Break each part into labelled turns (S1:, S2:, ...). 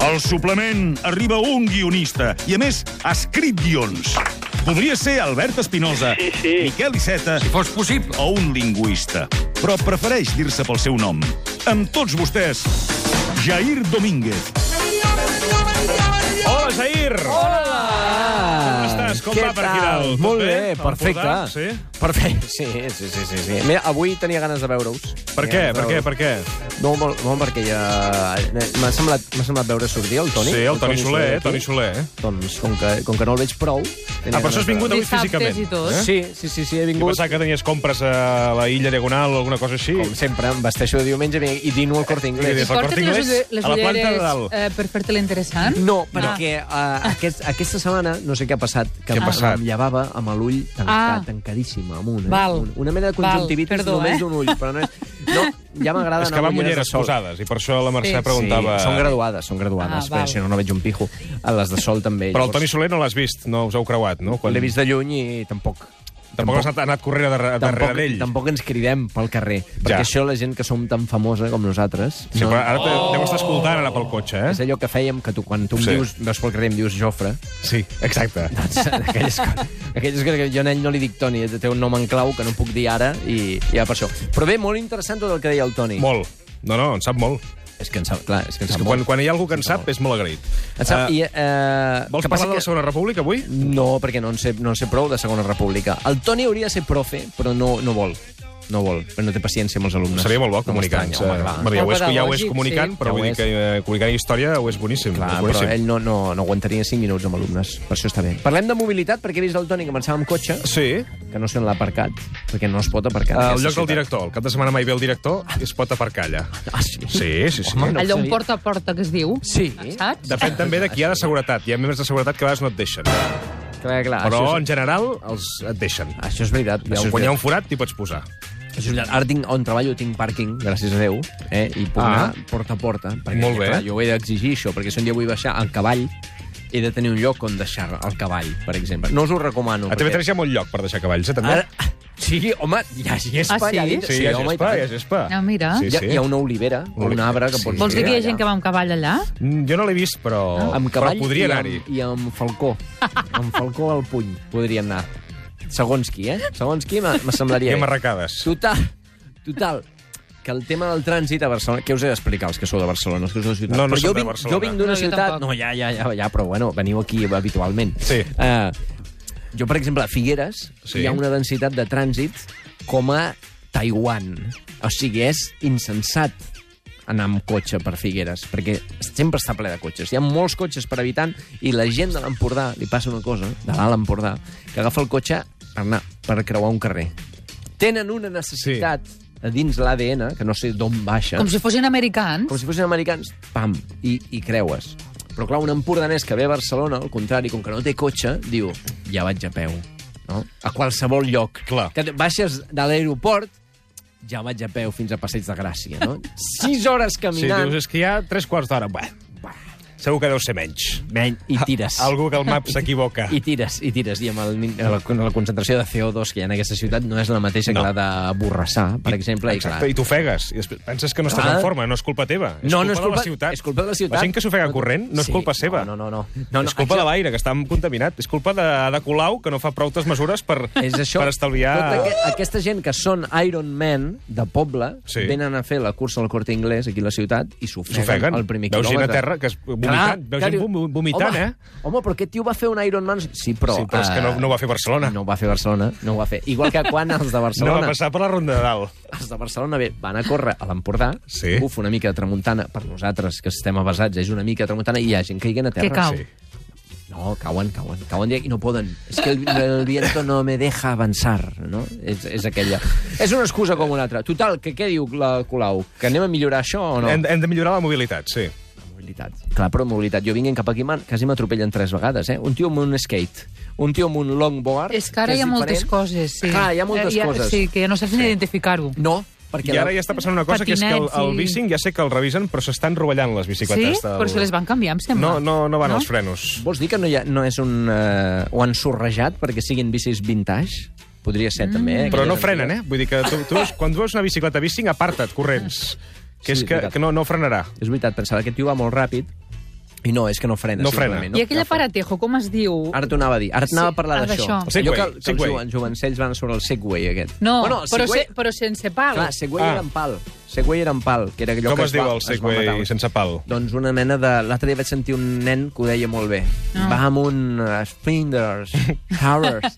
S1: Al suplement arriba un guionista i, a més, ha escrit guions. Podria ser Albert Espinosa,
S2: Sí, sí.
S1: Miquel Iceta
S3: Si fos possible.
S1: o un lingüista, però prefereix dir-se pel seu nom. Amb tots vostès, Jair Domínguez.
S2: Hola, Jair! Com estàs? Com
S4: Què
S2: va per aquí
S4: tal?
S2: dalt? Tot
S4: Molt bé,
S2: Em
S4: perfecte.
S2: portàs? Sí?
S4: Perfecte, sí, sí, sí, sí, sí. Mira, avui tenia ganes de veure-us.
S2: Per què? Per què? Per què?
S4: No, molt, molt perquè ja... eh, M'ha semblat, m'ha semblat veure sortir el Toni.
S2: Sí, el Toni Soler, eh,
S4: aquí.
S2: Toni Soler.
S4: Doncs, com que, com que no el veig prou...
S2: Ah, per això has vingut avui
S5: Dissabtes
S2: físicament.
S5: i tot.
S4: Eh? Sí, sí, sí, sí, he
S2: Jo
S4: vingut...
S2: pensava que tenies compres a la Illa Diagonal o alguna cosa així.
S4: Com sempre, em vesteixo de diumenge i dino al Corte
S2: Eh, I
S4: Inglés.
S2: Recorda
S5: Porta't
S2: Inglés,
S5: les, ulle- les
S2: a la planta de
S5: ulleres
S2: dalt.
S5: eh, per fer-te l'interessant?
S4: No, perquè uh, aquest, aquesta setmana, no sé què ha passat, que
S2: Què ha
S4: em-
S2: passat?
S4: em llevava amb l'ull tancat,
S5: Ah.
S4: ah. tancadíssim, amunt.
S5: Val.
S4: amunt. Una mena de conjuntivitis
S5: Val, perdó,
S4: només
S5: eh?
S4: d'un ull, però no és... No, ja m'agrada
S2: És que
S4: anar
S2: va
S4: amb
S2: amb
S4: ulleres de
S2: ulleres
S4: sol.
S2: posades, i per això la Mercè
S5: Sí.
S2: preguntava...
S4: Sí, són graduades, són graduades,
S5: Ah,
S4: ah,
S5: val.
S4: perquè si no, no veig un pijo. A les de sol també.
S2: Però el Toni Soler no l'has vist, no us heu creuat, no?
S4: Quan... L'he vist de lluny i tampoc...
S2: Tampoc has anat- anat corrent darrere, darrere
S4: tampoc,
S2: d'ell.
S4: tampoc ens cridem pel carrer. Perquè això, la gent que som tan famosa com nosaltres...
S2: Sí, però ara te,
S5: Oh!
S2: deu estar escoltant ara pel cotxe,
S4: És
S2: eh?
S4: allò que fèiem, que tu, quan tu em
S2: Sí.
S4: dius, veus pel carrer, em dius Jofre.
S2: Sí, exacte.
S4: Doncs, aquelles, co- aquelles coses que jo a ell no li dic Toni, té un nom en clau que no puc dir ara i ja per això. Però bé, molt interessant tot el que deia el Toni.
S2: Molt. No, no, en sap molt.
S4: És que en sap, clar, és que en
S2: És
S4: sap
S2: que quan,
S4: molt.
S2: quan hi ha algú que en sap, és molt agraït.
S4: En sap,
S2: Eh,
S4: i, eh,
S2: vols
S4: que passa
S2: parlar de la
S4: que-
S2: Segona República, avui?
S4: No, perquè no en sé, no en sé prou de Segona República. El Toni hauria de ser profe, però no, no vol. No vol, però no té paciència amb els alumnes.
S2: Seria molt bo
S4: No m'estranya,
S2: comunicant.
S4: home,
S2: eh?
S4: clar.
S2: Bé, ja, ho és, ja ho és
S5: Pedagògic,
S2: comunicant,
S5: sí.
S2: però
S4: Ja ho
S2: vull dir
S4: és.
S2: que eh, comunicant història ho és boníssim.
S4: Clar,
S2: és
S4: però
S2: boníssim.
S4: ell no, no, no aguantaria 5 minuts amb alumnes, per això està bé. Parlem de mobilitat, perquè he vist el Toni que marxava amb cotxe,
S2: Sí,
S4: que no sé on l'ha aparcat, perquè no es pot aparcar. en
S2: al
S4: aquesta
S2: lloc del
S4: ciutat.
S2: director. El cap de setmana mai ve el director i es pot aparcar allà.
S4: Ah, sí?
S2: Sí, sí, sí.
S4: Home,
S2: no.
S4: no.
S5: Allò
S4: ho
S5: un
S4: sabia.
S5: porta a porta que es diu, Ah,
S4: Sí.
S5: saps?
S2: Depèn també de qui hi ha de seguretat. Hi ha membres de seguretat que a vegades no et deixen.
S4: Ah, Clar, clar,
S2: Però,
S4: això,
S2: en
S4: és,
S2: general, els et deixen.
S4: això és veritat.
S2: Hi ha
S4: Ah, això
S2: un-
S4: és
S2: Quan hi ha
S4: veritat.
S2: un forat, t'hi pots posar.
S4: Això és veritat. Ara tinc, on treballo tinc pàrquing, gràcies a Déu, eh? i puc
S2: Ah.
S4: anar porta a porta. Perquè,
S2: Molt bé.
S4: Clar, jo ho he d'exigir, això, perquè si un dia vull baixar el cavall, he de tenir un lloc on deixar el cavall, per exemple. No us ho recomano.
S2: A TV3 hi ha molt lloc per deixar cavalls, eh, també?
S4: Ara... Sí, home, hi ha gespa
S5: Ah, sí?
S4: allà dintre.
S2: Sí, hi ha
S4: home, i
S2: gespa,
S4: tant.
S2: hi ha gespa.
S5: Ah, mira.
S2: Sí,
S4: Hi ha,
S2: sí.
S4: hi ha una olivera, o un
S2: Olivera,
S4: arbre que
S2: sí.
S4: pots
S5: Vols dir que hi ha
S4: allà.
S5: gent que va amb cavall allà?
S2: Mm, Jo no l'he vist, però,
S4: Amb
S2: però
S4: cavall
S2: podria
S4: i,
S2: anar-hi.
S4: amb, i amb falcó. amb falcó al puny podria anar. Segons qui, eh? Segons qui m'ha- me
S2: I
S4: semblaria...
S2: amb
S4: bé.
S2: arracades.
S4: Total, total que el tema del trànsit a Barcelona... Què us he d'explicar, els que sou de Barcelona, els que sou de ciutat?
S2: No, no
S4: però
S2: som
S4: jo
S2: de
S4: vinc,
S2: Barcelona.
S4: jo vinc d'una
S5: No, jo
S4: ciutat...
S5: tampoc.
S4: No, ja, ja, ja, ja, però bueno, veniu aquí habitualment.
S2: Sí.
S4: Uh, jo, per exemple, a Figueres
S2: Sí.
S4: sí. hi ha una densitat de trànsit com a Taiwan. O sigui, és insensat anar amb cotxe per Figueres, perquè sempre està ple de cotxes. Hi ha molts cotxes per habitant i la gent de l'Empordà, li passa una cosa, de l'Alt Empordà, que agafa el cotxe per anar, per creuar un carrer. Tenen una necessitat sí. dins l'ADN, que no sé d'on baixa,
S5: Com si fossin americans.
S4: com si fossin americans, pam, i, i creues. Però clar, un empordanès que ve a Barcelona, al contrari, com que no té cotxe, diu, ja vaig a peu, no? A qualsevol lloc.
S2: Clar.
S4: Que te- baixes de l'aeroport, ja vaig a peu fins a Passeig de Gràcia, no? Sis hores
S2: Sí,
S4: caminant,
S2: dius, és que hi ha tres quarts d'hora. Bé, segur que deu ser menys.
S4: menys, i tires.
S2: Algú que el map s'equivoca.
S4: I tires, i tires. I amb el, nin- la, la concentració de CO2 que hi ha en aquesta ciutat no és la mateixa
S2: No.
S4: que la de Borrassà, per exemple.
S2: Exacte, i
S4: I clar,
S2: t'ofegues. I després penses que no estàs
S4: Clar.
S2: en forma, no és culpa teva. És
S4: No,
S2: culpa
S4: no és
S2: de la
S4: culpa-
S2: ciutat.
S4: és culpa de la ciutat.
S2: La gent que s'ofega corrent no és
S4: Sí,
S2: culpa
S4: no,
S2: seva.
S4: no, no, no. No, no,
S2: és culpa
S4: això-
S2: de l'aire, que està contaminat. És culpa de, de Colau, que no fa prou mesures per,
S4: és això.
S2: per estalviar...
S4: Tota aqu aquesta gent que són Iron Man de poble
S2: Sí.
S4: sí. venen a fer la cursa al Corte Inglés aquí a la ciutat i
S2: S'ofeguen.
S4: s'ofeguen al primer
S2: Veus gent
S4: quilòmetre.
S2: a terra que es- vomitant, veus gent
S4: diu,
S2: vom- vomitant,
S4: home,
S2: eh?"
S4: Home, però aquest tio va fer un Iron Man... Sí, però...
S2: Sí, però és que no-
S4: eh,
S2: no ho va fer Barcelona.
S4: No ho va fer Barcelona, no ho va fer. Igual que quan els de
S2: No va
S4: Barcelona...
S2: passar per la ronda de dalt.
S4: els de Barcelona bé, van a córrer a l'Empordà,
S2: Sí.
S4: buf, una mica de tramuntana, per nosaltres que estem avasats, és una mica de tramuntana, i hi ha gent que caiguen a
S5: Que
S4: terra.
S5: cau.
S2: sí.
S4: No, cauen, cauen, cauen direct i no poden. És que el, el viento no me deja avançar, no? És, és aquella. És una excusa com una altra. Total, que què diu la Colau? Que anem a millorar això o no?
S2: Hem, hem de millorar la mobilitat, sí.
S4: Mobilitat. Clar, però mobilitat. Jo vinc cap aquí, man, quasi m'atropellen tres vegades, eh? Un tio amb un skate, un tio amb un longboard...
S5: És que ara hi ha moltes
S4: diferent.
S5: coses, sí.
S4: Clar, hi ha moltes
S5: Eh,
S4: coses.
S5: Sí, que ja no saps ni identificar-ho.
S4: No, perquè...
S2: I ara
S4: la-
S2: ja està passant una cosa, que és que el, el
S5: Patinets i-
S2: bicing ja sé que el revisen, però s'estan rovellant les
S5: Sí?
S2: bicicletes. del-
S5: Però se les van canviar, em sembla.
S2: No, no, no van els frenos.
S4: Vols dir que no, hi ha, no és un... Uh, ho han sorrejat perquè siguin bicis vintage? Podria ser,
S5: Mm.
S4: també. Eh?
S2: Però no
S4: Aquelles
S2: frenen, eh?
S4: antigues.
S2: Vull dir que tu, tu quan veus una bicicleta bicing, aparta't, corrents. Que
S4: Sí,
S2: és que,
S4: veritat.
S2: que no, no frenarà.
S4: És veritat, pensava que aquest tio va molt ràpid I no, és que no frena.
S2: No
S4: simplement,
S2: frena.
S4: No?
S5: I aquell aparatejo, com es diu?
S4: Ara t'ho anava a dir. Ara t'anava
S5: Sí,
S4: a parlar
S5: ara
S4: d'això.
S5: d'això.
S2: El Segway,
S4: Allò que, que els
S2: Segway.
S4: joven- jovencells van sobre el Segway, aquest.
S5: No,
S4: bueno, el
S5: però,
S4: Segway...
S5: se, però sense pal.
S4: Clar, Segway
S2: Ah.
S4: ah. era en pal. Segway era en pal, que era allò
S2: Com
S4: que
S2: es diu
S4: va-
S2: el
S4: va
S2: Segway
S4: matar.
S2: sense pal?
S4: Doncs una mena de... L'altre dia vaig sentir un nen que ho deia molt bé.
S5: Ah.
S4: Va amb un eh, Splinters, Howers.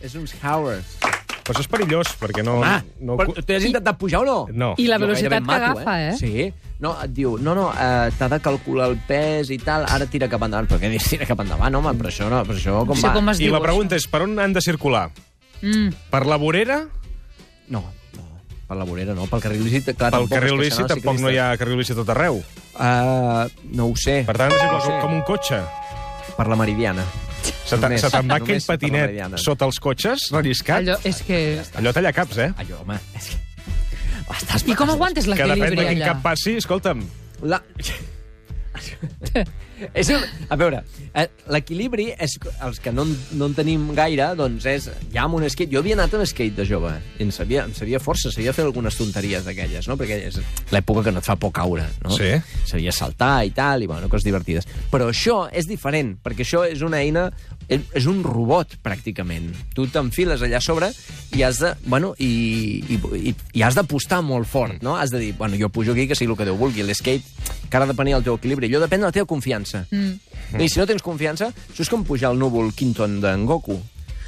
S4: és uns Howers.
S2: Però això és perillós, perquè no...
S4: Ah,
S2: no...
S4: però t'has intentat pujar o no?
S2: No.
S5: I la
S4: Jo gairebé
S5: velocitat
S4: em
S5: que
S4: mato,
S5: agafa, eh?
S4: Sí. No, et diu, no, no, eh, t'ha de calcular el pes i tal, ara tira cap endavant. Però què dius, tira cap endavant, home? Però això no, però això com
S5: No sé
S4: va?
S5: com es
S2: I
S5: diu.
S2: la pregunta és, per on han de circular?
S5: Mm.
S2: Per la vorera?
S4: Ah, No, no, per la vorera no, pel carril bici, clar,
S2: Pel
S4: tampoc,
S2: carril
S4: és que
S2: bici
S4: seran els
S2: tampoc no hi ha carril bici a tot arreu.
S4: ciclistes. Eh, no ho sé,
S2: Per tant, han de circular
S4: Sí.
S2: com, com un cotxe.
S4: per la Meridiana.
S2: Se te-
S4: Només-
S2: se te'n va
S4: només
S2: aquell
S4: per la
S2: patinet
S4: Meridiana.
S2: sota els cotxes, relliscat.
S5: Allò, és que...
S2: Allò talla caps, eh?
S4: Allò, home, és que... Estàs
S5: I com aguantes
S2: Que depèn de
S5: l'equilibri
S2: quin
S5: allà?
S2: cap passi, escolta'm.
S4: La... és un... A veure, eh, l'equilibri és... Els que no en, no en tenim gaire, doncs és... Ja amb un skate... Jo havia anat amb skate de jove. I en sabia, em sabia força, sabia fer algunes tonteries d'aquelles, no? Perquè és l'època que no et fa por caure, no?
S2: Sí.
S4: Sabia saltar i tal, i bueno, coses divertides. Però això és diferent, perquè això és una eina... És és un robot, pràcticament. Tu t'enfiles allà a sobre i has de... Bueno, i, i, i, i has d'apostar molt fort, no? Has de dir, bueno, jo pujo aquí, que sigui el que Déu vulgui. L'skate, que ara depenia del teu equilibri. Allò depèn de la teva confiança. Mm. I si no tens confiança, això és com pujar al núvol Quinton d'en Goku.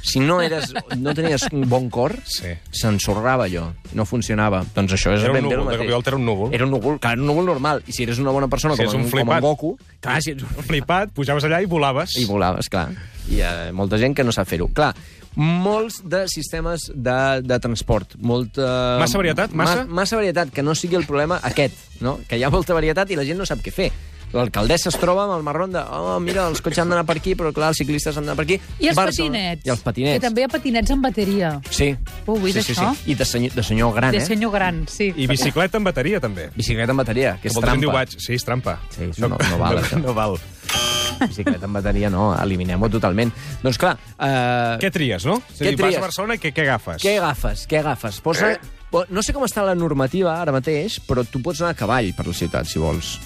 S4: Si no, eres, no tenies un bon cor,
S2: Sí.
S4: s'ensorrava allò, no funcionava. Doncs això és
S2: Era un
S4: ben bé
S2: núvol,
S4: el
S2: de
S4: mateix.
S2: cop i volta era un núvol.
S4: Era un núvol, clar, era un núvol normal. I si eres una bona persona
S2: Si
S4: com,
S2: ets un
S4: en, com en
S2: flipat.
S4: Goku... Clar, si ets un...
S2: Flipat, pujaves allà i volaves.
S4: I volaves, clar. Hi ha molta gent que no sap fer-ho. Clar, molts de sistemes de, de transport. Molta...
S2: Massa varietat, massa?
S4: Ma, massa varietat, que no sigui el problema aquest, no? Que hi ha molta varietat i la gent no sap què fer. L'alcaldessa es troba amb el marrón de oh, mira, els cotxes han d'anar per aquí, però clar, els ciclistes han d'anar per aquí.
S5: I els
S4: Barcelona-
S5: patinets.
S4: I els patinets.
S5: Que també hi ha patinets amb bateria.
S4: Sí.
S5: Ho veus,
S4: sí, sí,
S5: això?
S4: sí. I de senyor, de senyor gran,
S5: De
S4: eh?
S5: senyor gran, sí.
S2: I bicicleta amb bateria, també.
S4: Bicicleta amb bateria, que és
S2: Molta gent
S4: trampa.
S2: diu, vaig. Sí, és trampa.
S4: Sí, això no- no val, això.
S2: No val.
S4: Bicicleta amb bateria no, eliminem-ho totalment. Doncs clar, eh,
S2: Què tries, no?
S4: Què
S2: si vas
S4: tries?
S2: a Barcelona, què, què agafes?
S4: Què agafes? Què agafes? Posa... Eh? No sé com està la normativa ara mateix, però tu pots anar a cavall per la ciutat, si vols.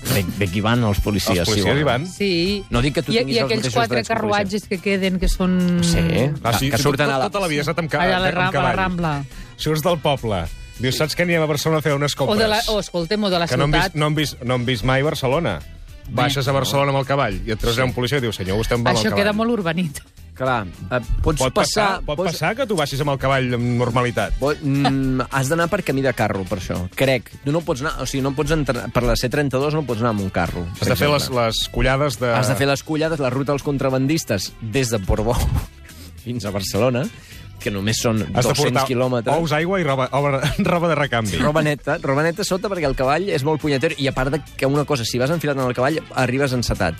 S4: De, de qui van els policies,
S2: Els policies
S4: si
S2: hi van.
S5: Sí.
S4: No dic que tu
S5: I,
S4: tinguis
S5: I
S4: els
S5: aquells
S4: mateixos
S5: quatre
S4: drets que
S5: carruatges que queden, que són...
S4: Sí.
S2: Ah, sí,
S4: Que
S2: sí,
S4: surten
S2: tot-
S4: a la-
S2: Tota la vida has estat amb, ca...
S5: Allà a la
S2: amb
S5: Rambla, a la
S2: cavall.
S5: Rambla.
S2: Surts del poble, dius, saps que anirem a Barcelona a fer unes
S5: O,
S2: compres?
S5: de la, o, escoltem, o de la
S2: que no hem, vist,
S5: ciutat.
S2: no, hem vist, no hem vist mai Barcelona. Baixes a Barcelona amb el cavall i et treus un policia i diu, senyor, vostè em va amb el
S5: Això
S2: cavall.
S5: queda molt urbanit.
S4: Clar, eh, pots
S2: Pot
S4: passar...
S2: passar, pot passar que tu baixis amb el cavall amb normalitat.
S4: Bo, mm, has d'anar per camí de carro, per això, crec. Tu no pots anar... O sigui, no pots entrar... Per la C32 no pots anar amb un carro. per
S2: Has de fer
S4: exemple.
S2: les, les collades de...
S4: Has de fer les collades, la ruta dels contrabandistes, des de Portbou fins a Barcelona, que només són
S2: Has de
S4: 200
S2: portar
S4: quilòmetres.
S2: ous, aigua i roba, obra- roba de recanvi.
S4: Roba neta, roba neta sota perquè el cavall és molt punyeter i a part de que una cosa, si vas enfilat en el cavall, arribes encetat.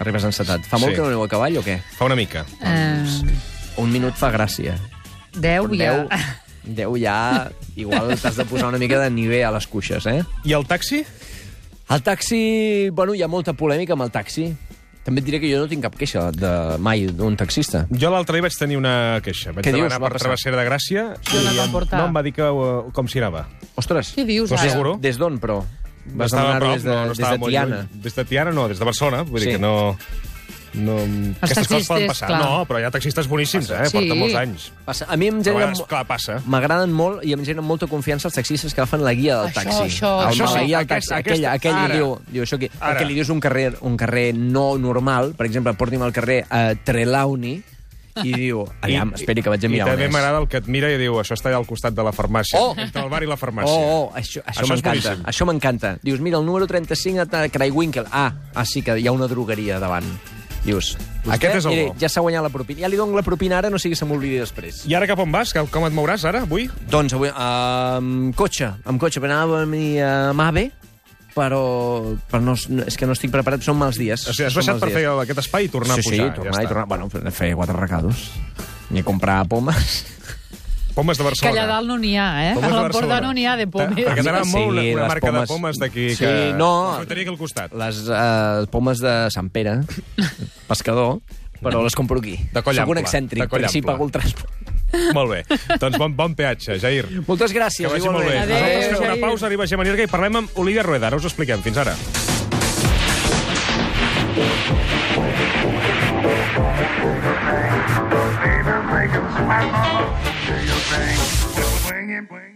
S4: Arribes encetat. Fa molt
S2: Sí.
S4: que no aneu a cavall o què?
S2: Fa una mica. Doncs
S5: Eh,
S4: Un minut fa gràcia.
S5: deu, ja.
S4: Deu, deu ja... Igual t'has de posar una mica de nivell a les cuixes, eh?
S2: I el taxi?
S4: El taxi... Bueno, hi ha molta polèmica amb el taxi. També et diré que jo no tinc cap queixa de mai d'un taxista.
S2: Jo l'altre dia vaig tenir una queixa. Vaig
S4: Què dius?
S2: demanar
S4: Va
S2: per
S4: passar?
S2: Travessera de Gràcia
S5: Jo no em va
S2: em,
S5: portar.
S2: no em va dir que, eh, com s'hi anava.
S4: Ostres,
S5: Què dius,
S2: T'ho
S5: ara?
S2: asseguro.
S4: des d'on, però? Vas
S2: Estava a
S4: demanar
S2: prop,
S4: des de,
S2: no, no
S4: des
S2: estava
S4: de
S2: molt
S4: Tiana.
S2: lluny. Des de Tiana no, des de Barcelona. Vull
S4: Sí.
S2: dir que no... no aquestes coses
S5: taxistes,
S2: poden passar.
S5: clar.
S2: No, però hi ha taxistes boníssims, eh?
S5: Sí.
S2: Porten molts anys.
S4: Passa. A mi
S2: Però,
S4: em
S2: a
S4: genera...
S2: vegades,
S4: mo-
S2: clar, passa.
S4: M'agraden molt i em generen molta confiança els taxistes que agafen la guia del
S5: Això,
S4: taxi.
S5: això,
S4: el
S5: això sí,
S4: malaguia del
S2: aquest-
S4: taxi, aquell,
S2: aquest-
S4: aquell
S2: ara.
S4: li diu, diu això aquí,
S2: Ara.
S4: perquè li dius un carrer, un carrer no normal, per exemple, porti'm al carrer eh, Trelawney, i diu, aviam, esperi que vaig a
S2: I
S4: mirar on
S2: també
S4: és.
S2: m'agrada el que et mira i diu això està allà al costat de la farmàcia,
S4: Oh!
S2: entre el bar i la farmàcia.
S4: Oh, oh, això,
S2: Això
S4: això,
S2: és
S4: m'encanta.
S2: boníssim.
S4: Això m'encanta. Dius, mira, el número 35 a Craiwinkel. Ah, ah, sí que hi ha una drogueria davant. Dius, vostè,
S2: Aquest és el
S4: mira,
S2: bo.
S4: ja s'ha guanyat la propina. Ja li dono la propina ara, no sigui que se m'oblidi després.
S2: I ara cap on vas? Com et mouràs ara, avui?
S4: Doncs avui, eh, amb cotxe, amb cotxe, perquè anava a venir a Mave, però, però no, no- és que no estic preparat, són mals dies.
S2: O sigui, has
S4: Són
S2: baixat
S4: mals
S2: per
S4: dies.
S2: fer aquest espai i tornar
S4: sí,
S2: a pujar.
S4: Sí, tornar
S2: ja
S4: i tornar. Bueno, fer- fer quatre recados. Ni comprar pomes.
S2: està. Pomes de
S5: Que
S2: Barcelona.
S5: allà dalt no n'hi ha, eh?
S2: Pomes
S5: A
S2: de
S5: l'Empordà
S2: Barcelona.
S5: no n'hi ha de
S2: Ta- Perquè
S5: pomes.
S2: t'anava
S4: Sí,
S2: molt una,
S4: les
S2: una marca
S4: pomes-
S2: de pomes d'aquí
S4: Sí,
S2: que...
S4: no.
S2: La fruiteria aquí al costat.
S4: Les eh, pomes de Sant Pere, pescador, però les compro aquí.
S2: De coll
S4: Soc un
S2: ample,
S4: excèntric,
S2: de coll
S4: perquè així
S2: ample.
S4: pago el transport.
S2: Molt bé. Doncs bon, bon peatge, Jair.
S4: Moltes gràcies.
S2: Que vagi molt bé.
S4: igualment.
S5: Adéu,
S2: Nosaltres fem una
S5: Jair.
S2: pausa, arriba Gemma Nierga i parlem amb Olivia Rueda. Ara us ho expliquem. Fins ara.
S3: do your thing. Swing it, swing it.